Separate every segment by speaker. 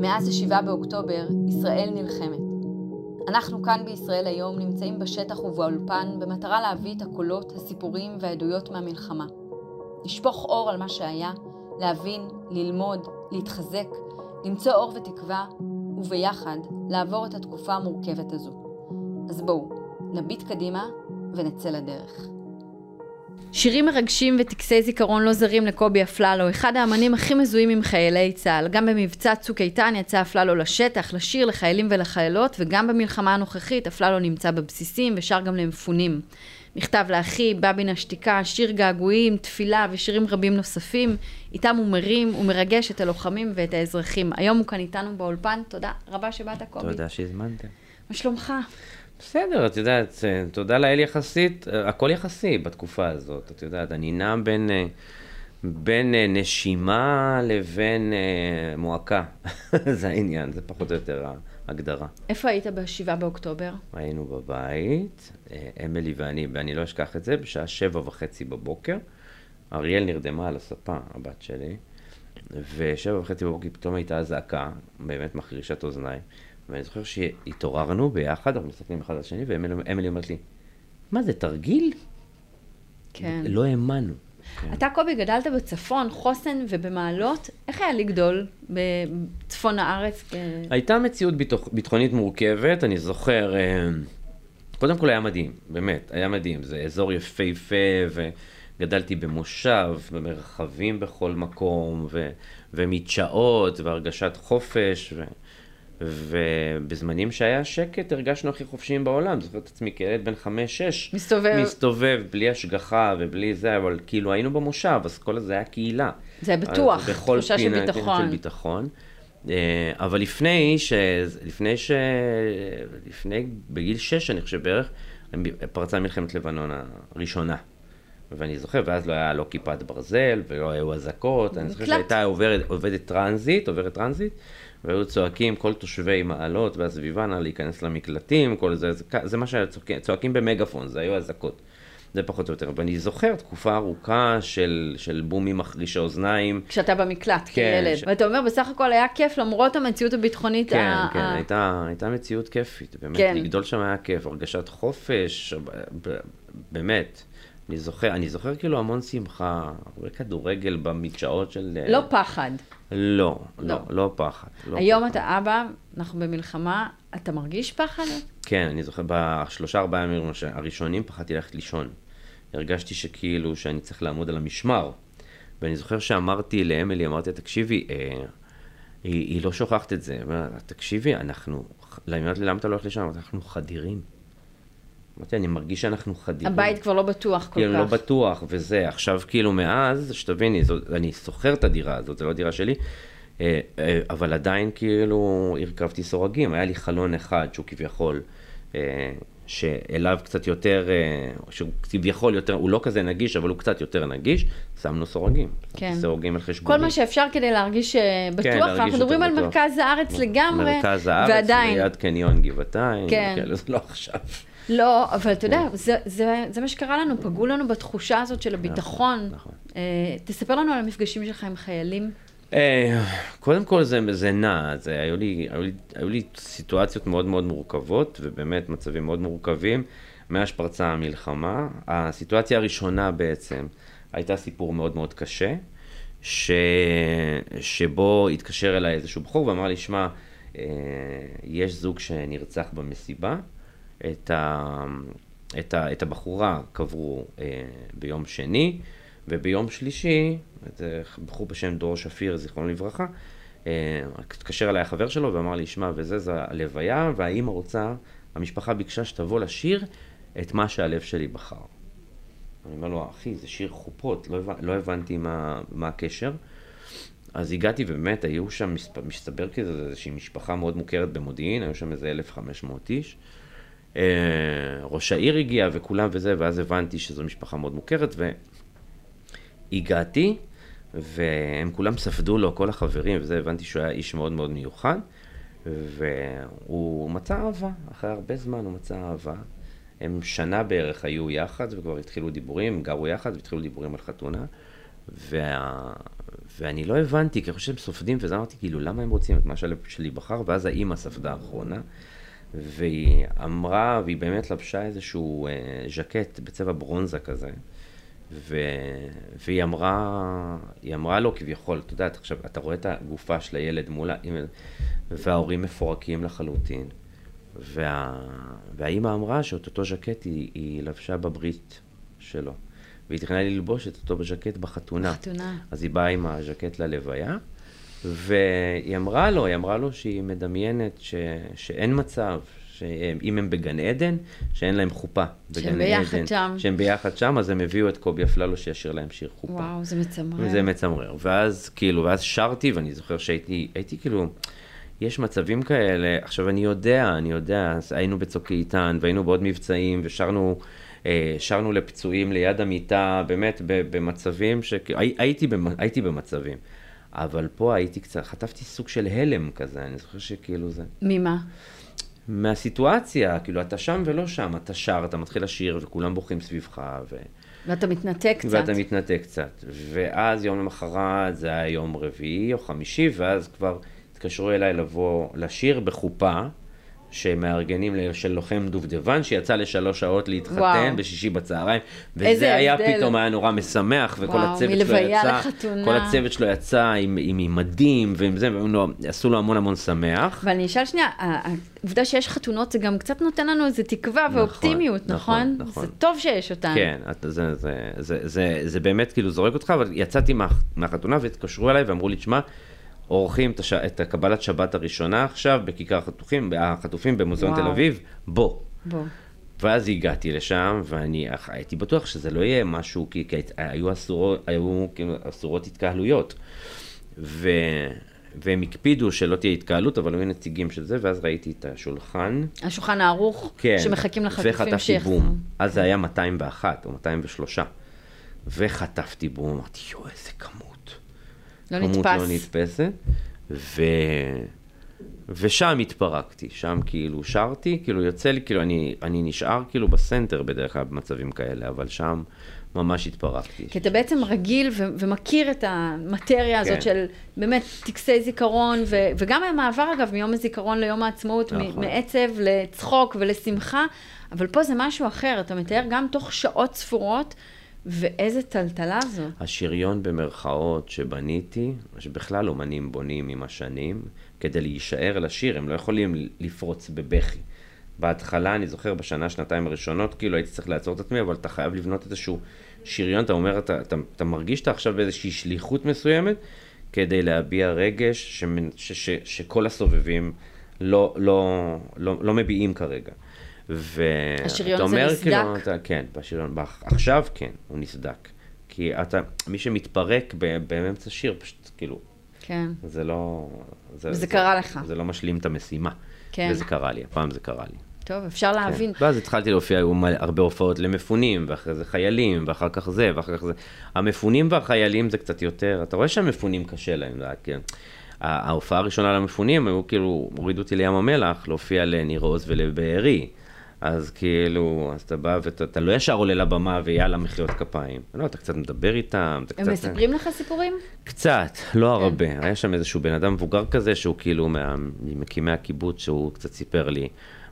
Speaker 1: מאז השבעה באוקטובר, ישראל נלחמת. אנחנו כאן בישראל היום נמצאים בשטח ובאולפן במטרה להביא את הקולות, הסיפורים והעדויות מהמלחמה. לשפוך אור על מה שהיה, להבין, ללמוד, להתחזק, למצוא אור ותקווה, וביחד לעבור את התקופה המורכבת הזו. אז בואו, נביט קדימה ונצא לדרך.
Speaker 2: שירים מרגשים וטקסי זיכרון לא זרים לקובי אפללו, אחד האמנים הכי מזוהים עם חיילי צה"ל. גם במבצע צוק איתן יצא אפללו לשטח, לשיר לחיילים ולחיילות, וגם במלחמה הנוכחית אפללו נמצא בבסיסים ושר גם למפונים. מכתב לאחי, בבין השתיקה, שיר געגועים, תפילה ושירים רבים נוספים. איתם הוא מרים, הוא מרגש את הלוחמים ואת האזרחים. היום הוא כאן איתנו באולפן, תודה רבה שבאת קובי.
Speaker 3: תודה שהזמנתם.
Speaker 2: מה שלומך?
Speaker 3: בסדר, את יודעת, תודה לאל יחסית, אה, הכל יחסי בתקופה הזאת, את יודעת, אני נע בין, אה, בין אה, נשימה לבין אה, מועקה, זה העניין, זה פחות או יותר ההגדרה.
Speaker 2: איפה היית ב-7 באוקטובר?
Speaker 3: היינו בבית, אה, אמילי ואני, ואני לא אשכח את זה, בשעה שבע וחצי בבוקר, אריאל נרדמה על הספה, הבת שלי, ושבע וחצי בבוקר פתאום הייתה אזעקה, באמת מחרישת אוזניים. ואני זוכר שהתעוררנו ביחד, אנחנו מסתכלים אחד על השני, ואמילי אומרת לי, מה זה, תרגיל?
Speaker 2: כן.
Speaker 3: לא האמנו.
Speaker 2: כן. אתה, קובי, גדלת בצפון, חוסן ובמעלות. איך היה לגדול בצפון הארץ?
Speaker 3: הייתה מציאות ביטוח, ביטחונית מורכבת, אני זוכר, אה, קודם כל היה מדהים, באמת, היה מדהים. זה אזור יפהפה, וגדלתי במושב, במרחבים בכל מקום, ו... ומדשאות, והרגשת חופש. ו... ובזמנים שהיה שקט הרגשנו הכי חופשיים בעולם. זוכר את עצמי כילד בן חמש-שש.
Speaker 2: מסתובב.
Speaker 3: מסתובב בלי השגחה ובלי זה, אבל כאילו היינו במושב, אז כל זה היה קהילה.
Speaker 2: זה היה בטוח, תחושה של ביטחון.
Speaker 3: כן, של ביטחון. אה, אבל לפני ש... לפני ש... לפני, בגיל שש, אני חושב בערך, פרצה מלחמת לבנון הראשונה. ואני זוכר, ואז לא היה לא כיפת ברזל, ולא היו אזעקות, אני זוכר שהייתה עוברת, עובדת טרנזיט, עוברת טרנזיט, והיו צועקים כל תושבי מעלות והסביבה נא להיכנס למקלטים, כל זה, זה, זה מה שהיו צועקים, צועקים במגפון, זה היו אזעקות. זה פחות או יותר, ואני זוכר תקופה ארוכה של, של בומים מחרישי אוזניים.
Speaker 2: כשאתה במקלט כן, כילד, ש... ואתה אומר בסך הכל היה כיף למרות המציאות הביטחונית.
Speaker 3: כן, ה...
Speaker 2: אה,
Speaker 3: כן, ה... הייתה, הייתה מציאות כיפית, באמת, כן. לגדול שם היה כיף, הרגשת חופש, באמת. אני זוכר, אני זוכר כאילו המון שמחה, הרבה כדורגל במדשאות של...
Speaker 2: לא פחד.
Speaker 3: לא, לא, לא פחד. לא
Speaker 2: היום
Speaker 3: פחד.
Speaker 2: אתה אבא, אנחנו במלחמה, אתה מרגיש פחד?
Speaker 3: כן, אני זוכר, בשלושה ארבעה ימים הראשונים פחדתי ללכת לישון. הרגשתי שכאילו, שאני צריך לעמוד על המשמר. ואני זוכר שאמרתי לאמילי, אמרתי, תקשיבי, אה, היא, היא לא שוכחת את זה. תקשיבי, אנחנו, למה אתה לא הולך לשם? אנחנו חדירים. אמרתי, אני מרגיש שאנחנו חדירים.
Speaker 2: הבית כבר לא בטוח כל
Speaker 3: כאילו כך. כאילו, לא בטוח, וזה. עכשיו, כאילו, מאז, שתביני, זו, אני שוכר את הדירה הזאת, זו לא דירה שלי, אה, אבל עדיין, כאילו, הרכבתי סורגים. היה לי חלון אחד, שהוא כביכול, אה, שאליו קצת יותר, אה, שהוא כביכול יותר, הוא לא כזה נגיש, אבל הוא קצת יותר נגיש, שמנו סורגים.
Speaker 2: כן.
Speaker 3: סורגים על חשבונים.
Speaker 2: כל מה שאפשר כדי להרגיש בטוח. כן, להרגיש אנחנו מדברים על מרכז הארץ לגמרי,
Speaker 3: מרכז הארץ,
Speaker 2: ועדיין.
Speaker 3: ליד קניון גבעתיים, כן. כאלה, זה לא עכשיו.
Speaker 2: לא, אבל אתה יודע, זה, זה, זה מה שקרה לנו, פגעו לנו בתחושה הזאת של הביטחון. נכון. אה, תספר לנו על המפגשים שלך עם חיילים.
Speaker 3: אה, קודם כל זה, זה נע, זה, היו, לי, היו, לי, היו לי סיטואציות מאוד מאוד מורכבות, ובאמת מצבים מאוד מורכבים, מאז שפרצה המלחמה. הסיטואציה הראשונה בעצם הייתה סיפור מאוד מאוד קשה, ש, שבו התקשר אליי איזשהו בחור ואמר לי, שמע, אה, יש זוג שנרצח במסיבה. את, ה, את, ה, את הבחורה קברו אה, ביום שני, וביום שלישי, זה בחור בשם דרור שפיר, זיכרונו לברכה, התקשר אה, אליי החבר שלו ואמר לי, שמע, וזה, זה הלוויה, והאימא רוצה, המשפחה ביקשה שתבוא לשיר את מה שהלב שלי בחר. אני אומר לו, אחי, זה שיר חופות, לא, הבנ, לא הבנתי מה, מה הקשר. אז הגעתי, ובאמת, היו שם, מסתבר כזה, איזושהי משפחה מאוד מוכרת במודיעין, היו שם איזה 1,500 איש. אה, ראש העיר הגיע וכולם וזה, ואז הבנתי שזו משפחה מאוד מוכרת, והגעתי, והם כולם ספדו לו, כל החברים וזה, הבנתי שהוא היה איש מאוד מאוד מיוחד, והוא מצא אהבה, אחרי הרבה זמן הוא מצא אהבה. הם שנה בערך היו יחד, וכבר התחילו דיבורים, גרו יחד, והתחילו דיבורים על חתונה, וה... ואני לא הבנתי, כי אני חושב שהם סופדים, ואז אמרתי, כאילו, למה הם רוצים את מה שהלב שלי בחר? ואז האימא ספדה האחרונה, והיא אמרה, והיא באמת לבשה איזשהו אה, ז'קט בצבע ברונזה כזה, ו... והיא אמרה, היא אמרה לו כביכול, אתה יודעת, עכשיו, אתה רואה את הגופה של הילד מול ה... וההורים מפורקים לחלוטין, וה... והאימא אמרה שאת אותו ז'קט היא, היא לבשה בברית שלו. והיא תכננה ללבוש את אותו ז'קט בחתונה.
Speaker 2: חתונה.
Speaker 3: אז היא באה עם הז'קט ללוויה, והיא אמרה לו, היא אמרה לו שהיא מדמיינת ש... שאין מצב, שאם הם בגן עדן, שאין להם חופה בגן
Speaker 2: שהם ביחד
Speaker 3: עדן.
Speaker 2: שם.
Speaker 3: שהם ביחד שם, אז הם הביאו את קובי אפללו שישיר להם שיר חופה.
Speaker 2: וואו, זה מצמרר.
Speaker 3: זה מצמרר. ואז כאילו, ואז שרתי, ואני זוכר שהייתי, הייתי כאילו, יש מצבים כאלה, עכשיו אני יודע, אני יודע, אז היינו בצוק איתן, והיינו בעוד מבצעים, ושרנו, אה, שרנו לפצועים ליד המיטה, באמת, ב- במצבים ש... הי, הייתי, במ- הייתי במצבים. אבל פה הייתי קצת, חטפתי סוג של הלם כזה, אני זוכר שכאילו זה...
Speaker 2: ממה?
Speaker 3: מהסיטואציה, כאילו, אתה שם ולא שם, אתה שר, אתה מתחיל לשיר, וכולם בוכים סביבך, ו...
Speaker 2: ואתה מתנתק קצת.
Speaker 3: ואתה מתנתק קצת. ואז יום למחרת, זה היה יום רביעי או חמישי, ואז כבר התקשרו אליי לבוא לשיר בחופה, שמארגנים ל- של לוחם דובדבן, שיצא לשלוש שעות להתחתן
Speaker 2: וואו.
Speaker 3: בשישי בצהריים.
Speaker 2: איזה
Speaker 3: וזה היה
Speaker 2: הבדל.
Speaker 3: פתאום, היה נורא משמח, וכל
Speaker 2: וואו,
Speaker 3: הצוות שלו
Speaker 2: מלוויה
Speaker 3: יצא,
Speaker 2: לחתונה.
Speaker 3: כל הצוות שלו יצא עם, עם, עם מדים ועם זה, והם לא- עשו לו המון המון שמח.
Speaker 2: אבל אני אשאל שנייה, ה- העובדה שיש חתונות זה גם קצת נותן לנו איזו תקווה ואופטימיות,
Speaker 3: נכון,
Speaker 2: נכון?
Speaker 3: נכון.
Speaker 2: זה טוב שיש אותן.
Speaker 3: כן, אתה- זה, זה, זה, זה, זה באמת כאילו זורק אותך, אבל יצאתי מה, מהחתונה והתקשרו אליי ואמרו לי, תשמע, עורכים את, הש, את הקבלת שבת הראשונה עכשיו בכיכר החטופים, החטופים במוזיאון
Speaker 2: וואו.
Speaker 3: תל אביב, בוא.
Speaker 2: בוא.
Speaker 3: ואז הגעתי לשם, ואני אח- הייתי בטוח שזה לא יהיה משהו, כי, כי היית- היו, אסורו, היו כאילו, אסורות התקהלויות. ו, והם הקפידו שלא תהיה התקהלות, אבל היו נציגים של זה, ואז ראיתי את השולחן.
Speaker 2: השולחן הערוך,
Speaker 3: כן.
Speaker 2: שמחכים לחטופים
Speaker 3: וחטפתי
Speaker 2: שיחזרו. כן.
Speaker 3: בום. אז זה היה 201 או 203. וחטפתי בום, אמרתי, יואו, איזה כמות.
Speaker 2: לא
Speaker 3: כמות
Speaker 2: נתפס.
Speaker 3: לא נתפסת. ו... ושם התפרקתי, שם כאילו שרתי, כאילו יוצא לי, כאילו אני, אני נשאר כאילו בסנטר בדרך כלל במצבים כאלה, אבל שם ממש התפרקתי.
Speaker 2: כי אתה בעצם רגיל ו- ומכיר את המטריה הזאת
Speaker 3: כן.
Speaker 2: של באמת טקסי זיכרון, ו- וגם המעבר אגב מיום הזיכרון ליום העצמאות, מ-
Speaker 3: נכון.
Speaker 2: מעצב לצחוק ולשמחה, אבל פה זה משהו אחר, אתה מתאר גם תוך שעות ספורות, ואיזה טלטלה זו.
Speaker 3: השריון במרכאות שבניתי, שבכלל אומנים בונים עם השנים, כדי להישאר לשיר, הם לא יכולים לפרוץ בבכי. בהתחלה, אני זוכר, בשנה, שנתיים הראשונות, כאילו הייתי צריך לעצור את עצמי, אבל אתה חייב לבנות איזשהו שריון, אתה אומר, אתה, אתה, אתה מרגיש שאתה עכשיו באיזושהי שליחות מסוימת, כדי להביע רגש שמנ- ש, ש, שכל הסובבים לא, לא, לא, לא מביעים כרגע. ו...
Speaker 2: השריון
Speaker 3: אתה
Speaker 2: זה
Speaker 3: אומר,
Speaker 2: נסדק?
Speaker 3: כאילו, אתה, כן, בשריון, באח- עכשיו כן, הוא נסדק. כי אתה, מי שמתפרק ב- באמצע שיר, פשוט כאילו,
Speaker 2: כן.
Speaker 3: זה לא... זה,
Speaker 2: וזה קרה לך.
Speaker 3: זה לא משלים את המשימה.
Speaker 2: כן.
Speaker 3: וזה קרה לי, הפעם זה קרה לי.
Speaker 2: טוב, אפשר להבין.
Speaker 3: כן. ואז התחלתי להופיע, היו מלא- הרבה הופעות למפונים, ואחרי זה חיילים, ואחר כך זה, ואחר כך זה. המפונים והחיילים זה קצת יותר, אתה רואה שהמפונים קשה להם, זה היה כן. ה- ההופעה הראשונה למפונים, היו כאילו, הורידו אותי לים המלח להופיע לניר עוז ולבארי. אז כאילו, אז אתה בא ואתה אתה לא ישר עולה לבמה ויאללה מחיאות כפיים. לא, אתה קצת מדבר איתם, אתה קצת...
Speaker 2: הם מספרים לך סיפורים?
Speaker 3: קצת, לא
Speaker 2: כן.
Speaker 3: הרבה. היה שם איזשהו בן אדם מבוגר כזה, שהוא כאילו מה- ממקימי הקיבוץ, שהוא קצת סיפר לי.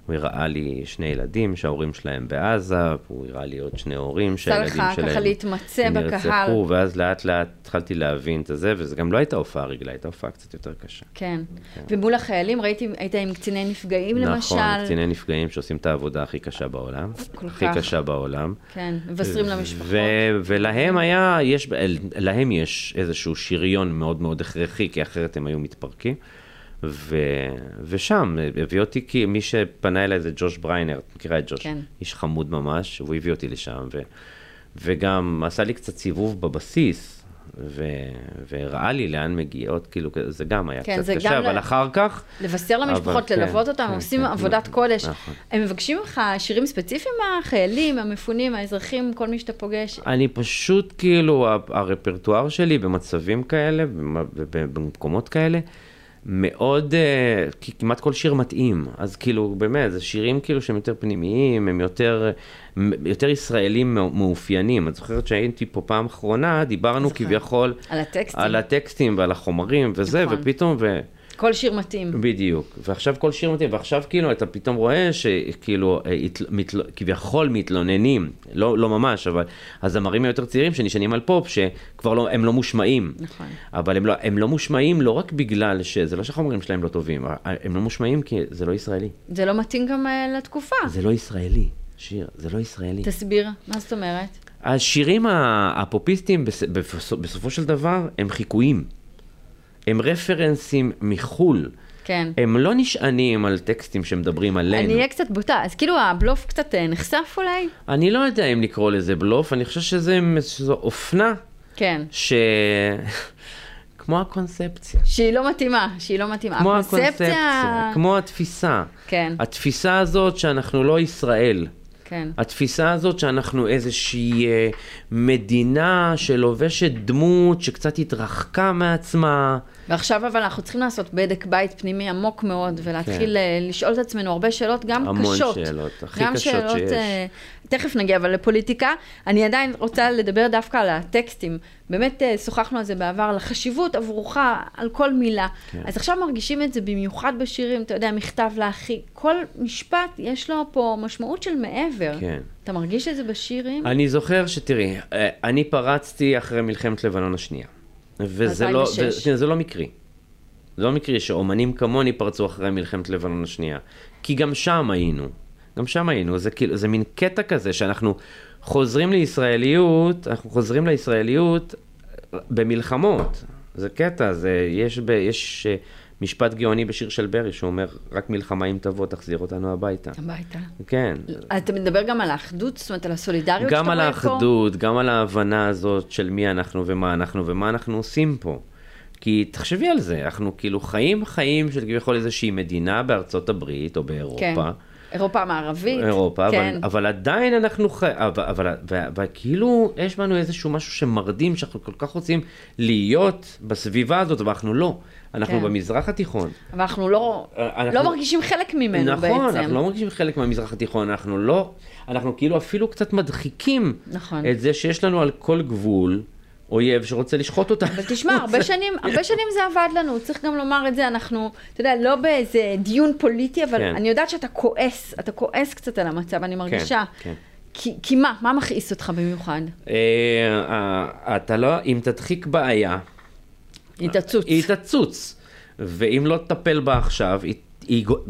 Speaker 3: הוא הראה לי שני ילדים שההורים שלהם בעזה, הוא הראה לי עוד שני הורים שהילדים
Speaker 2: לך
Speaker 3: שלהם
Speaker 2: ככה להתמצא
Speaker 3: הם
Speaker 2: בקהל.
Speaker 3: נרצחו, ואז לאט לאט התחלתי להבין את זה, וזו גם לא הייתה הופעה רגילה, הייתה הופעה קצת יותר קשה.
Speaker 2: כן. ומול החיילים, ראיתי, היית עם קציני נפגעים למשל.
Speaker 3: נכון, קציני נפגעים שעושים את העבודה הכי קשה בעולם.
Speaker 2: כל
Speaker 3: הכי
Speaker 2: כך.
Speaker 3: קשה בעולם.
Speaker 2: כן, מבשרים
Speaker 3: אה,
Speaker 2: למשפחות.
Speaker 3: ו- ולהם היה, יש, להם יש איזשהו שריון מאוד מאוד הכרחי, כי אחרת הם היו מתפרקים. ו, ושם הביא אותי, כי מי שפנה אליי זה ג'וש בריינר, את מכירה את ג'וש?
Speaker 2: כן.
Speaker 3: איש חמוד ממש, והוא הביא אותי לשם, ו, וגם עשה לי קצת סיבוב בבסיס, ו, והראה לי לאן מגיעות, כאילו, זה גם היה
Speaker 2: כן,
Speaker 3: קצת
Speaker 2: זה
Speaker 3: קשה,
Speaker 2: גם
Speaker 3: אבל
Speaker 2: ל-
Speaker 3: אחר כך...
Speaker 2: לבשר למשפחות,
Speaker 3: אבל כן,
Speaker 2: ללוות אותם, הם
Speaker 3: כן,
Speaker 2: עושים
Speaker 3: כן,
Speaker 2: עבודת
Speaker 3: נכון,
Speaker 2: קודש.
Speaker 3: נכון.
Speaker 2: הם מבקשים ממך שירים ספציפיים מהחיילים, המפונים, האזרחים, כל מי שאתה פוגש.
Speaker 3: אני פשוט, כאילו, ה- הרפרטואר שלי במצבים כאלה, במ- ב- ב- במקומות כאלה, מאוד, אה, כי כמעט כל שיר מתאים, אז כאילו באמת, זה שירים כאילו שהם יותר פנימיים, הם יותר, מ- יותר ישראלים מאו- מאופיינים. את זוכרת שהייתי פה פעם אחרונה, דיברנו
Speaker 2: זוכרת.
Speaker 3: כביכול
Speaker 2: על הטקסטים.
Speaker 3: על הטקסטים ועל החומרים וזה,
Speaker 2: נכון.
Speaker 3: ופתאום, ו...
Speaker 2: כל שיר מתאים.
Speaker 3: בדיוק, ועכשיו כל שיר מתאים, ועכשיו כאילו אתה פתאום רואה שכאילו אה, התל- מתל- כביכול מתלוננים, לא, לא ממש, אבל הזמרים היותר צעירים שנשענים על פופ, שכבר לא, הם לא מושמעים.
Speaker 2: נכון.
Speaker 3: אבל הם לא, הם לא מושמעים לא רק בגלל שזה לא שהחומרים שלהם לא טובים, ה- הם לא מושמעים כי זה לא ישראלי.
Speaker 2: זה לא מתאים גם אה, לתקופה.
Speaker 3: זה לא ישראלי, שיר, זה לא ישראלי.
Speaker 2: תסביר, מה זאת אומרת?
Speaker 3: השירים ה- הפופיסטיים בס- בפס- בסופו של דבר הם חיקויים. הם רפרנסים מחו"ל.
Speaker 2: כן.
Speaker 3: הם לא נשענים על טקסטים שמדברים עלינו.
Speaker 2: אני אהיה קצת בוטה, אז כאילו הבלוף קצת אה, נחשף אולי?
Speaker 3: אני לא יודע אם לקרוא לזה בלוף, אני חושב שזה שזו אופנה
Speaker 2: כן.
Speaker 3: ש... כמו הקונספציה.
Speaker 2: שהיא לא מתאימה, שהיא לא מתאימה.
Speaker 3: כמו
Speaker 2: הקונספציה-
Speaker 3: הקונספציה, כמו התפיסה.
Speaker 2: כן.
Speaker 3: התפיסה הזאת שאנחנו לא ישראל.
Speaker 2: כן.
Speaker 3: התפיסה הזאת שאנחנו איזושהי אה, מדינה שלובשת דמות שקצת התרחקה מעצמה.
Speaker 2: ועכשיו אבל אנחנו צריכים לעשות בדק בית פנימי עמוק מאוד, ולהתחיל כן. לשאול את עצמנו הרבה שאלות, גם
Speaker 3: המון
Speaker 2: קשות.
Speaker 3: שאלות, הכי
Speaker 2: גם
Speaker 3: קשות
Speaker 2: שאלות,
Speaker 3: שיש.
Speaker 2: אה, תכף נגיע אבל לפוליטיקה. אני עדיין רוצה לדבר דווקא על הטקסטים. באמת אה, שוחחנו על זה בעבר, על החשיבות עבורך, על כל מילה. כן. אז עכשיו מרגישים את זה במיוחד בשירים, אתה יודע, מכתב לאחי. כל משפט יש לו פה משמעות של מעבר.
Speaker 3: כן.
Speaker 2: אתה מרגיש את זה בשירים?
Speaker 3: אני זוכר שתראי, אה, אני פרצתי אחרי מלחמת לבנון השנייה. וזה לא,
Speaker 2: 2006.
Speaker 3: וזה לא מקרי. זה לא מקרי שאומנים כמוני פרצו אחרי מלחמת לבנון השנייה. כי גם שם היינו. גם שם היינו. זה כאילו, זה מין קטע כזה שאנחנו חוזרים לישראליות, אנחנו חוזרים לישראליות אה, במלחמות. זה קטע, זה, יש, ב, יש אה, משפט גאוני בשיר של ברי שאומר, רק מלחמה אם תבוא תחזיר אותנו הביתה.
Speaker 2: הביתה.
Speaker 3: כן.
Speaker 2: אתה מדבר גם על האחדות, זאת אומרת, על הסולידריות שאתה
Speaker 3: גם
Speaker 2: רואה
Speaker 3: על
Speaker 2: פה?
Speaker 3: האחדות, גם על ההבנה הזאת של מי אנחנו ומה אנחנו ומה אנחנו עושים פה. כי תחשבי על זה, אנחנו כאילו חיים חיים של כביכול איזושהי מדינה בארצות הברית או
Speaker 2: כן.
Speaker 3: באירופה.
Speaker 2: אירופה המערבית.
Speaker 3: אירופה,
Speaker 2: כן.
Speaker 3: אבל, אבל עדיין אנחנו חי... אבל, אבל, אבל, אבל כאילו יש בנו איזשהו משהו שמרדים שאנחנו כל כך רוצים להיות בסביבה הזאת, ואנחנו לא. אנחנו
Speaker 2: כן.
Speaker 3: כן. במזרח התיכון.
Speaker 2: אבל אנחנו לא,
Speaker 3: אנחנו-
Speaker 2: לא מרגישים חלק ממנו
Speaker 3: נכון,
Speaker 2: בעצם.
Speaker 3: אנחנו לא מרגישים חלק מהמזרח התיכון, אנחנו לא, אנחנו כאילו אפילו קצת מדחיקים
Speaker 2: נכון.
Speaker 3: את זה שיש לנו על כל גבול אויב שרוצה לשחוט אותנו.
Speaker 2: אבל תשמע, הרבה שנים, הרבה שנים זה עבד לנו, צריך גם לומר את זה, אנחנו, אתה יודע, לא באיזה דיון פוליטי, אבל
Speaker 3: כן.
Speaker 2: אני יודעת שאתה כועס, אתה כועס קצת על המצב, אני מרגישה.
Speaker 3: כן.
Speaker 2: כי, כי מה, מה מכעיס אותך במיוחד?
Speaker 3: אה, אה, אתה לא, אם תדחיק בעיה, אה,
Speaker 2: היא תצוץ.
Speaker 3: היא תצוץ, ואם לא תטפל בה עכשיו, היא, היא גו-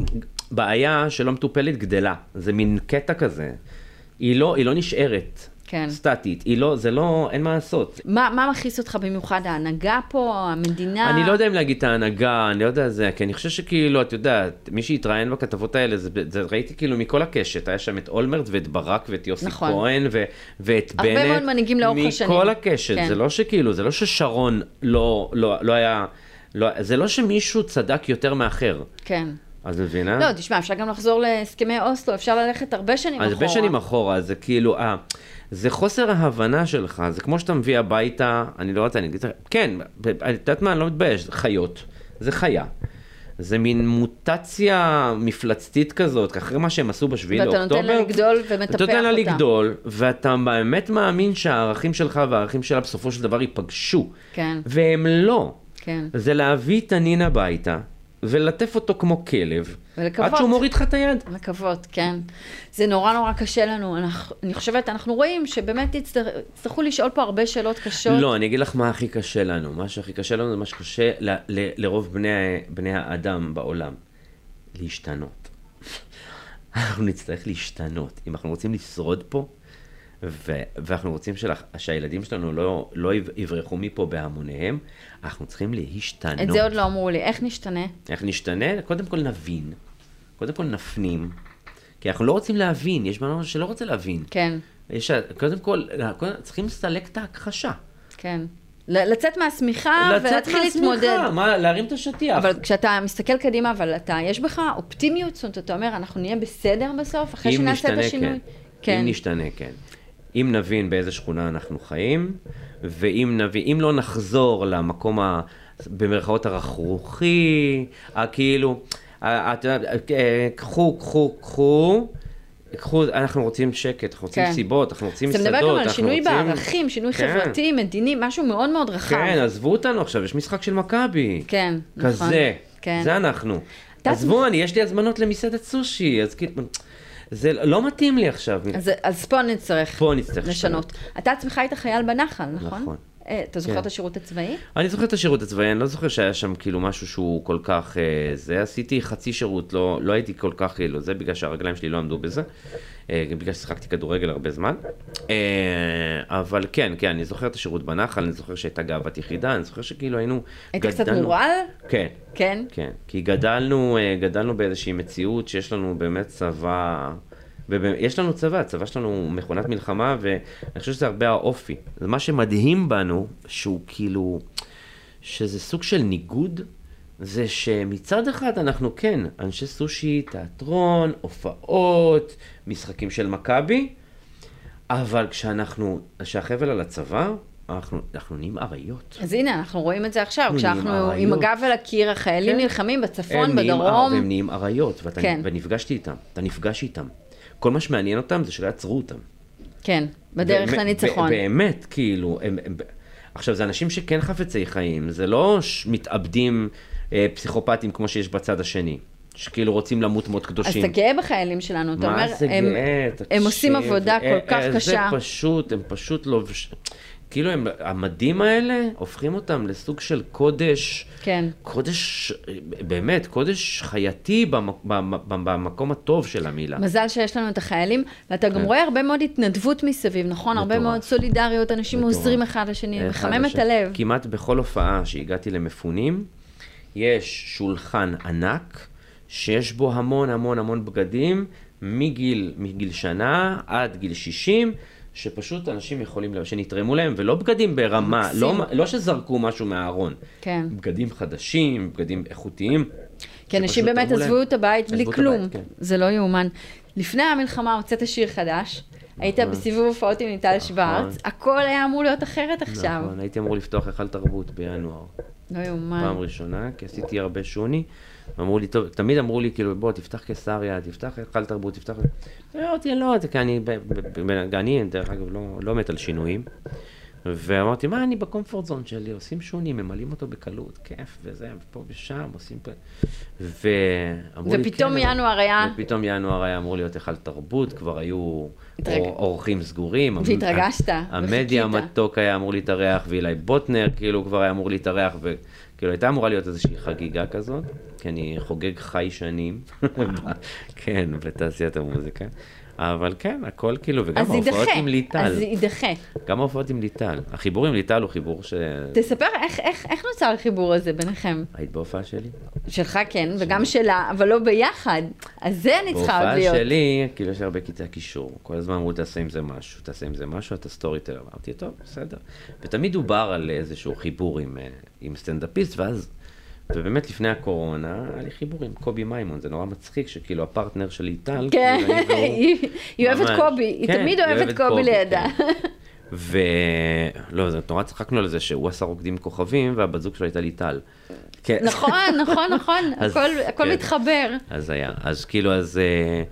Speaker 3: בעיה שלא מטופלת גדלה, זה מין קטע כזה. היא לא, היא לא נשארת.
Speaker 2: כן.
Speaker 3: סטטית, היא לא, זה לא, אין מה לעשות,
Speaker 2: מה, מה מכעיס אותך במיוחד? ההנהגה פה, המדינה?
Speaker 3: אני לא יודע אם להגיד את ההנהגה, אני לא יודע זה, כי אני חושב שכאילו, את יודעת, מי שהתראיין בכתבות האלה, זה, זה ראיתי כאילו מכל הקשת, היה שם את אולמרט ואת ברק ואת יוסי
Speaker 2: נכון.
Speaker 3: כהן ו, ואת
Speaker 2: הרבה
Speaker 3: בנט.
Speaker 2: מאוד מנהיגים לאורך השנים.
Speaker 3: מכל הקשת,
Speaker 2: כן.
Speaker 3: זה לא שכאילו, זה לא ששרון לא, לא, לא היה, לא, זה לא שמישהו צדק יותר מאחר.
Speaker 2: כן.
Speaker 3: אז את מבינה?
Speaker 2: לא, תשמע, אפשר גם לחזור להסכמי אוסלו, אפשר ללכת הרבה שנים
Speaker 3: אז
Speaker 2: אחורה.
Speaker 3: הרבה שנים אחורה, זה כאילו, אה, זה חוסר ההבנה שלך, זה כמו שאתה מביא הביתה, אני לא רוצה, אני אגיד לך, כן, ב- ב- את יודעת מה, אני לא מתבייש, זה חיות, זה חיה. זה מין מוטציה מפלצתית כזאת, אחרי מה שהם עשו בשביעי
Speaker 2: ואתה
Speaker 3: לאוקטובר.
Speaker 2: נותן לה לגדול ומטפח
Speaker 3: אתה נותן לה
Speaker 2: אותה.
Speaker 3: לגדול, ואתה באמת מאמין שהערכים שלך והערכים שלה בסופו של דבר ייפגשו.
Speaker 2: כן.
Speaker 3: והם לא.
Speaker 2: כן.
Speaker 3: זה להביא תנין הביתה, ולטף אותו כמו כלב.
Speaker 2: ולקוות.
Speaker 3: עד שהוא מוריד לך את היד.
Speaker 2: לקוות, כן. זה נורא נורא קשה לנו. אנחנו, אני חושבת, אנחנו רואים שבאמת יצטר, יצטרכו לשאול פה הרבה שאלות קשות.
Speaker 3: לא, אני אגיד לך מה הכי קשה לנו. מה שהכי קשה לנו זה מה שקשה ל- ל- לרוב בני, בני האדם בעולם. להשתנות. אנחנו נצטרך להשתנות. אם אנחנו רוצים לשרוד פה, ו- ואנחנו רוצים שלך, שהילדים שלנו לא, לא יב- יברחו מפה בהמוניהם, אנחנו צריכים להשתנות.
Speaker 2: את זה עוד לא אמרו לי. איך נשתנה?
Speaker 3: איך נשתנה? קודם כל נבין. קודם כל נפנים. כי אנחנו לא רוצים להבין, יש בנו שלא רוצה להבין.
Speaker 2: כן,
Speaker 3: יש, קודם כל, קודם, צריכים לסלק את ההכחשה.
Speaker 2: כן. ל- לצאת מהשמיכה
Speaker 3: לצאת
Speaker 2: ולהתחיל
Speaker 3: מהשמיכה,
Speaker 2: להתמודד.
Speaker 3: מה, להרים את השטיח.
Speaker 2: אבל כשאתה מסתכל קדימה, אבל אתה, יש בך אופטימיות, זאת אומרת, אתה אומר, אנחנו נהיה בסדר בסוף, אחרי
Speaker 3: אם
Speaker 2: שנעשה את
Speaker 3: נשתנה,
Speaker 2: השינוי.
Speaker 3: כן. אם נשתנה, כן. אם נבין באיזה שכונה אנחנו חיים, ואם נבין, אם לא נחזור למקום ה... במרכאות הרכרוכי, הכאילו, ה- את יודעת, אה, קחו, קחו, קחו, קחו, אנחנו רוצים שקט, אנחנו רוצים
Speaker 2: כן.
Speaker 3: סיבות, אנחנו רוצים
Speaker 2: אתה
Speaker 3: מסעדות,
Speaker 2: מדבר
Speaker 3: אנחנו
Speaker 2: גם
Speaker 3: רוצים...
Speaker 2: על שינוי בערכים, שינוי
Speaker 3: כן.
Speaker 2: חברתי, מדיני, משהו מאוד מאוד רחב.
Speaker 3: כן, עזבו אותנו עכשיו, יש משחק של מכבי.
Speaker 2: כן, נכון.
Speaker 3: כזה.
Speaker 2: כן.
Speaker 3: זה אנחנו.
Speaker 2: אתה-
Speaker 3: עזבו, אני, יש לי הזמנות למסעדת סושי, אז כאילו, זה לא מתאים לי עכשיו.
Speaker 2: אז, אז פה נצטרך
Speaker 3: פה נצטרך
Speaker 2: לשנות. אתה עצמך היית חייל בנחל, נכון?
Speaker 3: נכון.
Speaker 2: אה, אתה זוכר
Speaker 3: כן.
Speaker 2: את השירות הצבאי?
Speaker 3: אני זוכר את השירות הצבאי, אני לא זוכר שהיה שם כאילו משהו שהוא כל כך אה, זה. עשיתי חצי שירות, לא, לא הייתי כל כך כאילו זה, בגלל שהרגליים שלי לא עמדו בזה. אה, גם בגלל ששיחקתי כדורגל הרבה זמן. אה, אבל כן, כן, אני זוכר את השירות בנחל, אני זוכר שהייתה גאוות יחידה, אני זוכר שכאילו היינו...
Speaker 2: היית קצת
Speaker 3: גדלנו-
Speaker 2: מורעל?
Speaker 3: כן,
Speaker 2: כן.
Speaker 3: כן. כי גדלנו, אה, גדלנו באיזושהי מציאות שיש לנו באמת צבא... ויש לנו צבא, הצבא שלנו הוא מכונת מלחמה, ואני חושב שזה הרבה האופי. זה מה שמדהים בנו, שהוא כאילו, שזה סוג של ניגוד, זה שמצד אחד אנחנו כן, אנשי סושי, תיאטרון, הופעות, משחקים של מכבי, אבל כשאנחנו, כשהחבל על הצבא, אנחנו, אנחנו נהיים אריות.
Speaker 2: אז הנה, אנחנו רואים את זה עכשיו,
Speaker 3: נו,
Speaker 2: כשאנחנו
Speaker 3: נראה,
Speaker 2: עם
Speaker 3: נו.
Speaker 2: הגב אל הקיר, החיילים
Speaker 3: כן.
Speaker 2: נלחמים בצפון,
Speaker 3: הם נהיים אר-
Speaker 2: בדרום.
Speaker 3: והם נהיים אריות, ואתה,
Speaker 2: כן.
Speaker 3: כן. ונפגשתי איתם, אתה נפגש איתם. כל מה שמעניין אותם זה שלא יעצרו אותם.
Speaker 2: כן, בדרך
Speaker 3: באמת-
Speaker 2: לניצחון.
Speaker 3: ב- באמת, כאילו, הם, הם, עכשיו, זה אנשים שכן חפצי חיים, זה לא ש- מתאבדים אה, פסיכופטים כמו שיש בצד השני, שכאילו רוצים למות מות
Speaker 2: אז
Speaker 3: קדושים.
Speaker 2: אתה גאה בחיילים שלנו, אתה
Speaker 3: מה
Speaker 2: אומר,
Speaker 3: זה
Speaker 2: הם-
Speaker 3: גאה,
Speaker 2: הם עושים
Speaker 3: תקשיב,
Speaker 2: עבודה
Speaker 3: אה,
Speaker 2: כל כך
Speaker 3: אה,
Speaker 2: קשה.
Speaker 3: זה פשוט, הם פשוט לובש... כאילו, הם, המדים האלה הופכים אותם לסוג של קודש.
Speaker 2: כן.
Speaker 3: קודש, אה, באמת, קודש חייתי במק, במ- במ- במקום הטוב של המילה.
Speaker 2: מזל שיש לנו את החיילים, ואתה גם
Speaker 3: כן.
Speaker 2: רואה הרבה מאוד התנדבות מסביב, נכון? הרבה
Speaker 3: מטורף.
Speaker 2: מאוד סולידריות, אנשים
Speaker 3: מטורף.
Speaker 2: עוזרים אחד לשני,
Speaker 3: אה, אחד
Speaker 2: מחמם את
Speaker 3: לשני.
Speaker 2: הלב.
Speaker 3: כמעט בכל הופעה שהגעתי למפונים, יש שולחן ענק, שיש בו המון המון המון בגדים, מגיל, מגיל שנה עד גיל 60. שפשוט אנשים יכולים, לה- שנתרמו להם, ולא בגדים ברמה,
Speaker 2: מקסים.
Speaker 3: לא, לא שזרקו משהו מהארון.
Speaker 2: כן.
Speaker 3: בגדים חדשים, בגדים איכותיים.
Speaker 2: כי אנשים
Speaker 3: שפשוט
Speaker 2: באמת
Speaker 3: תרמו להם.
Speaker 2: עזבו את הבית
Speaker 3: עזבו
Speaker 2: בלי
Speaker 3: את
Speaker 2: כלום.
Speaker 3: הבית, כן.
Speaker 2: זה לא יאומן. לפני המלחמה הוצאת שיר חדש, היית
Speaker 3: נכון.
Speaker 2: בסיבוב הופעות עם ליטל שוורץ, הכל היה אמור להיות אחרת עכשיו.
Speaker 3: נכון, הייתי אמור לפתוח היכל תרבות בינואר.
Speaker 2: לא יאומן.
Speaker 3: פעם ראשונה, כי עשיתי הרבה שוני. אמרו לי, טוב, תמיד אמרו לי, כאילו, בוא, תפתח קיסריה, תפתח היכל תרבות, תפתח... אמרתי, לא, זה כי אני, ב- ב- ב- אני, דרך אגב, לא, לא מת על שינויים. ואמרתי, מה, אני בקומפורט זון שלי, עושים שוני, ממלאים אותו בקלות, כיף, וזה, ופה ושם, עושים פה... ואמרו לי, "כן,
Speaker 2: ופתאום
Speaker 3: אבל-"
Speaker 2: ינואר היה-
Speaker 3: ופתאום ינואר היה אמור להיות היכל תרבות, כבר היו
Speaker 2: התרג-
Speaker 3: אור- אורחים סגורים. המ-
Speaker 2: והתרגשת,
Speaker 3: המדיה
Speaker 2: וחיכית.
Speaker 3: מתוק היה אמור להתארח, ואילי בוטנר כאילו כבר היה אמור להתארח, וכאילו הייתה אמורה להיות איזושהי חגיגה כזאת, כי אני חוגג חי שנים, כן, בתעשיית המוזיקה. אבל כן, הכל כאילו, וגם
Speaker 2: אז
Speaker 3: ההופעות
Speaker 2: יידחה,
Speaker 3: עם ליטל,
Speaker 2: אז יידחה.
Speaker 3: גם ההופעות עם ליטל. החיבור עם ליטל הוא חיבור ש...
Speaker 2: תספר איך- איך איך נוצר החיבור הזה ביניכם?
Speaker 3: היית בהופעה שלי?
Speaker 2: שלך כן, וגם שלה, אבל לא ביחד. אז זה אני צריכה עוד להיות.
Speaker 3: בהופעה שלי, כאילו יש הרבה קטעי קישור. כל הזמן אמרו, תעשה עם זה משהו, תעשה עם זה משהו, אתה סטורי טלר. אמרתי, טוב, בסדר. ותמיד דובר על איזשהו חיבור עם, אה, עם סטנדאפיסט, ואז, ובאמת לפני הקורונה, היה לי חיבור עם קובי מימון, זה נורא מצחיק, שכאילו הפרטנר שלי טל,
Speaker 2: כן,
Speaker 3: כאילו, אני והוא-
Speaker 2: היא- היא אוהבת
Speaker 3: ממש.
Speaker 2: קובי, היא
Speaker 3: כן,
Speaker 2: תמיד אוהבת קובי לידה.
Speaker 3: כן. ו... לא, זה- נורא צחקנו על זה שהוא עשה רוקדים כוכבים, והבת זוג שלו הייתה לי טל. כן.
Speaker 2: נכון, נכון, נכון,
Speaker 3: אז-
Speaker 2: הכל- הכל
Speaker 3: כן.
Speaker 2: מתחבר.
Speaker 3: אז היה, אז כאילו, אז, אה,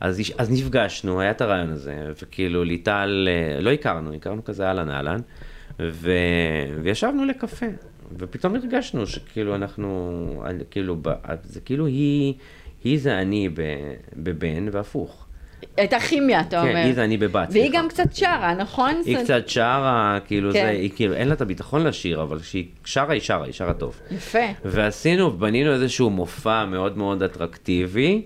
Speaker 3: אז, יש- אז נפגשנו, היה את הרעיון הזה, וכאילו ליטל, אה, לא הכרנו, הכרנו כזה אהלן אהלן, ו, וישבנו לקפה, ופתאום הרגשנו שכאילו אנחנו, אני- כאילו, ב- זה כאילו היא, היא זה אני ב, בבן והפוך.
Speaker 2: הייתה כימיה, אתה אומר.
Speaker 3: כן, היא זה אני בבת.
Speaker 2: והיא
Speaker 3: סליחה.
Speaker 2: גם קצת שרה, נכון?
Speaker 3: היא
Speaker 2: זאת-
Speaker 3: קצת שרה,
Speaker 2: כן.
Speaker 3: כאילו זה, היא כאילו, אין לה את הביטחון לשיר, אבל כשהיא שרה, היא שרה, היא שרה טוב.
Speaker 2: יפה.
Speaker 3: ועשינו, בנינו איזשהו מופע מאוד מאוד אטרקטיבי,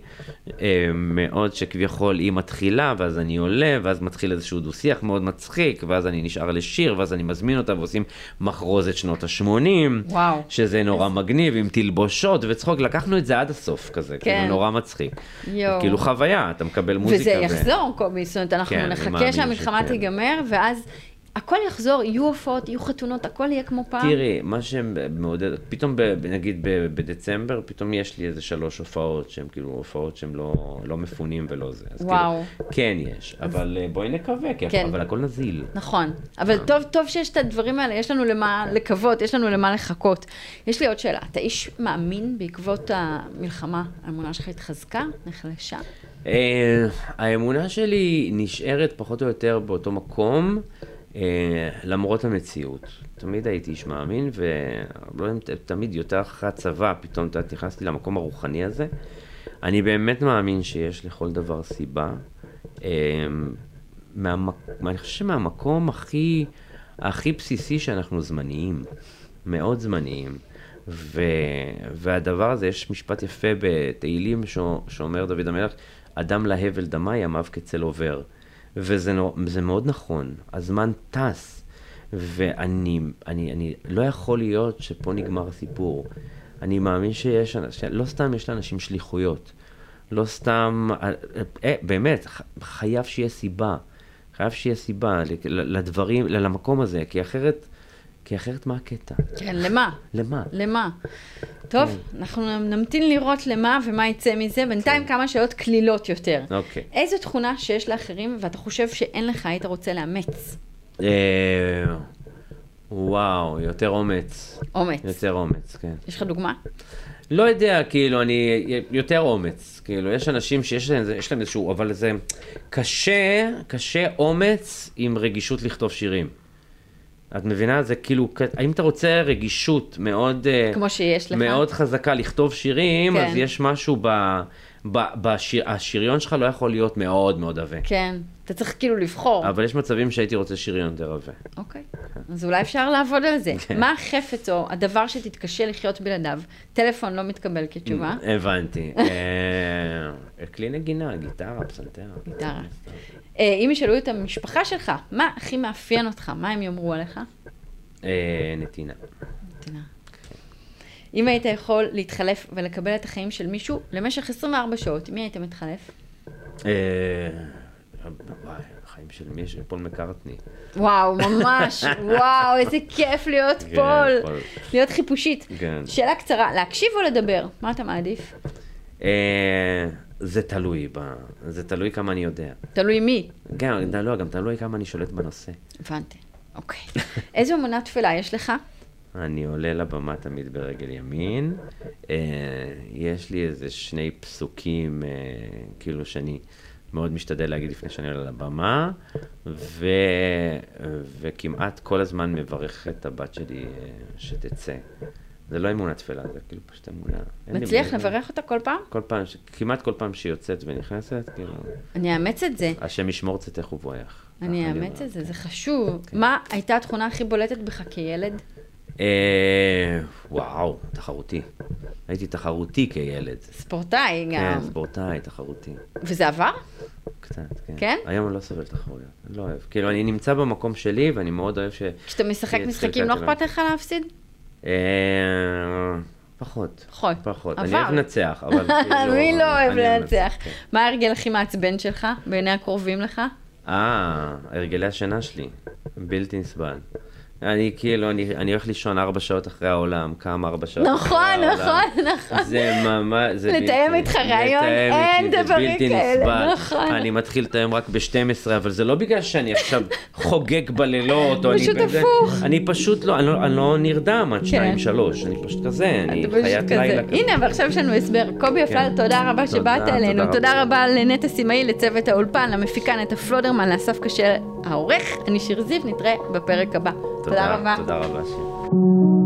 Speaker 3: אה, מאוד שכביכול היא מתחילה, ואז אני עולה, ואז מתחיל איזשהו דו-שיח מאוד מצחיק, ואז אני נשאר לשיר, ואז אני מזמין אותה, ועושים מחרוזת שנות ה-80.
Speaker 2: וואו.
Speaker 3: שזה נורא מגניב, עם תלבושות וצחוק, לקחנו את זה עד הסוף כזה,
Speaker 2: כן.
Speaker 3: כאילו נורא מצחיק.
Speaker 2: יואו.
Speaker 3: כאילו חוויה, אתה מקבל מוזיקה.
Speaker 2: וזה
Speaker 3: ו-
Speaker 2: יחזור, קובי, זאת אומרת, אנחנו
Speaker 3: כן, אני
Speaker 2: נחכה
Speaker 3: מאמין
Speaker 2: שהמלחמה
Speaker 3: שכן.
Speaker 2: תיגמר, ואז הכל יחזור, יהיו הופעות, יהיו חתונות, הכל יהיה כמו פעם.
Speaker 3: תראי, מה שמעודד, פתאום ב, ב- נגיד ב, בדצמבר, פתאום יש לי איזה שלוש הופעות שהן כאילו הופעות שהן לא, לא מפונים ולא זה. אז
Speaker 2: וואו.
Speaker 3: כאילו, כן יש, אבל אה, בואי נקווה,
Speaker 2: כן.
Speaker 3: כי כן. אבל הכל נזיל.
Speaker 2: נכון, אבל
Speaker 3: אה.
Speaker 2: טוב, טוב שיש את הדברים האלה, יש לנו למה
Speaker 3: אוקיי.
Speaker 2: לקוות, יש לנו למה לחכות. יש לי עוד שאלה, אתה איש מאמין בעקבות המלחמה, האמונה שלך התחזקה, נחלשה?
Speaker 3: אה, האמונה שלי נשארת פחות או יותר באותו מקום, אה, למרות המציאות. תמיד הייתי איש מאמין, ולא יודע אם ת- תמיד יותר אחרי הצבא, פתאום אתה נכנסתי למקום הרוחני הזה. אני באמת מאמין שיש לכל דבר סיבה. אה, מהמק... אני חושב שמהמקום הכי, הכי בסיסי שאנחנו זמניים, מאוד זמניים. ו... והדבר הזה, יש משפט יפה בתהילים ש... שאומר דוד המלך, אדם להבל דמי, ימיו כצל עובר. וזה נו... זה מאוד נכון, הזמן טס, ואני אני, אני לא יכול להיות שפה נגמר הסיפור. אני מאמין שיש, אנש- לא סתם יש לאנשים שליחויות. לא סתם, אה, אה, באמת, ח- חייב שיהיה סיבה. חייב שיהיה סיבה ל- ל- לדברים, ל- למקום הזה, כי אחרת, כי אחרת מה הקטע?
Speaker 2: כן, למה?
Speaker 3: למה?
Speaker 2: למה? טוב,
Speaker 3: אה.
Speaker 2: אנחנו נמתין לראות למה ומה יצא מזה,
Speaker 3: כן.
Speaker 2: בינתיים כמה שאלות קלילות יותר.
Speaker 3: אוקיי.
Speaker 2: איזו תכונה שיש לאחרים ואתה חושב שאין לך, היית רוצה לאמץ?
Speaker 3: אה, וואו, יותר אומץ.
Speaker 2: אומץ.
Speaker 3: יותר אומץ, כן.
Speaker 2: יש לך דוגמה?
Speaker 3: לא יודע, כאילו, אני... יותר אומץ. כאילו, יש אנשים שיש להם, יש להם איזשהו... אבל זה קשה, קשה אומץ עם רגישות לכתוב שירים. את מבינה? זה כאילו... כ- האם אתה רוצה רגישות מאוד... אה,
Speaker 2: כמו שיש לך.
Speaker 3: מאוד חזקה לכתוב שירים,
Speaker 2: כן.
Speaker 3: אז יש משהו ב... ב... בשיר... השריון שלך לא יכול להיות מאוד מאוד עבה.
Speaker 2: כן. אתה צריך כאילו לבחור.
Speaker 3: אבל יש מצבים שהייתי רוצה שריון יותר עבה.
Speaker 2: אוקיי. אז אולי אפשר לעבוד על זה.
Speaker 3: כן.
Speaker 2: מה החפץ או הדבר שתתקשה לחיות בלעדיו? טלפון לא מתקבל כתשובה.
Speaker 3: Mm. הבנתי. אה, כלי נגינה, גיטרה, פסנתר.
Speaker 2: גיטרה. אה, אם ישאלו את המשפחה שלך, מה הכי מאפיין אותך? מה הם יאמרו עליך?
Speaker 3: אה, נתינה.
Speaker 2: נתינה. אם היית יכול להתחלף ולקבל את החיים של מישהו למשך 24 שעות, עם מי היית מתחלף?
Speaker 3: אה, וואי, חיים של מי? של פול מקארטני.
Speaker 2: כן, וואו, ממש, וואו, איזה כיף להיות
Speaker 3: כן,
Speaker 2: פול.
Speaker 3: פול.
Speaker 2: להיות חיפושית.
Speaker 3: כן.
Speaker 2: שאלה קצרה, להקשיב או לדבר? מה אתה מעדיף?
Speaker 3: אה, זה תלוי ב... זה תלוי כמה אני יודע.
Speaker 2: תלוי מי.
Speaker 3: גם, לא, גם תלוי כמה אני שולט בנושא.
Speaker 2: הבנתי, אוקיי. איזו אמונת תפילה יש לך?
Speaker 3: אני עולה לבמה תמיד ברגל ימין. אה, יש לי איזה שני פסוקים, אה, כאילו שאני מאוד משתדל להגיד לפני שאני עולה לבמה, ו, וכמעט כל הזמן מברך את הבת שלי אה, שתצא. זה לא אמונה תפלה, זה כאילו פשוט אמונה. אין לי
Speaker 2: מצליח
Speaker 3: מילים.
Speaker 2: לברך אותה כל פעם?
Speaker 3: כל פעם, ש- כמעט כל פעם שהיא יוצאת ונכנסת, כאילו,
Speaker 2: אני אאמץ את זה.
Speaker 3: השם ישמור צאתך ובואך.
Speaker 2: אני אאמץ את זה, זה חשוב.
Speaker 3: אוקיי.
Speaker 2: מה הייתה התכונה הכי בולטת בך כילד?
Speaker 3: אה, וואו, תחרותי. הייתי תחרותי כילד.
Speaker 2: ספורטאי גם.
Speaker 3: כן, ספורטאי, תחרותי.
Speaker 2: וזה עבר?
Speaker 3: קצת, כן.
Speaker 2: כן?
Speaker 3: היום אני לא סובל תחרויות, אני לא אוהב. כאילו, אני נמצא במקום שלי, ואני מאוד אוהב ש...
Speaker 2: כשאתה משחק
Speaker 3: כן,
Speaker 2: משחקים לא
Speaker 3: ספורטאי.
Speaker 2: אכפת לך להפסיד?
Speaker 3: אה, פחות.
Speaker 2: פחות.
Speaker 3: פחות.
Speaker 2: נכון. עבר.
Speaker 3: אני אוהב לנצח, אבל כאילו...
Speaker 2: מי לא אוהב
Speaker 3: אני אוהב
Speaker 2: לנצח?
Speaker 3: כן.
Speaker 2: מה ההרגל הכי מעצבן שלך, בעיני הקרובים לך?
Speaker 3: אה, הרגלי השינה שלי. בלתי נסבל. אני כאילו, אני, אני הולך לישון ארבע שעות אחרי העולם, קם ארבע שעות אחרי
Speaker 2: נכון,
Speaker 3: העולם.
Speaker 2: נכון, נכון.
Speaker 3: זה ממש, זה
Speaker 2: לתאם
Speaker 3: בלתי-
Speaker 2: איתך רעיון,
Speaker 3: לתאם
Speaker 2: אין
Speaker 3: איתי, זה
Speaker 2: דברים
Speaker 3: בלתי
Speaker 2: כאלה,
Speaker 3: נסבל.
Speaker 2: נכון.
Speaker 3: אני מתחיל לתאם רק ב-12, אבל זה לא בגלל שאני עכשיו חוגג בלילות, או אני...
Speaker 2: פשוט
Speaker 3: בזה.
Speaker 2: הפוך.
Speaker 3: אני פשוט לא, אני לא, אני לא נרדם עד
Speaker 2: כן.
Speaker 3: 2-3, אני פשוט כזה, אני
Speaker 2: אתה פשוט
Speaker 3: חיית
Speaker 2: כזה.
Speaker 3: לילה כזה.
Speaker 2: הנה, ועכשיו יש לנו הסבר. קובי אפלר, תודה רבה שבאת
Speaker 3: תודה
Speaker 2: אלינו.
Speaker 3: רבה.
Speaker 2: תודה רבה לנטע סימאי, לצוות האולפן, למפיקה נטע פלודרמן, לאסף קשה העורך. אני שיר זיו, נתראה בפרק הבא. תודה רבה.
Speaker 3: תודה רבה. שיר.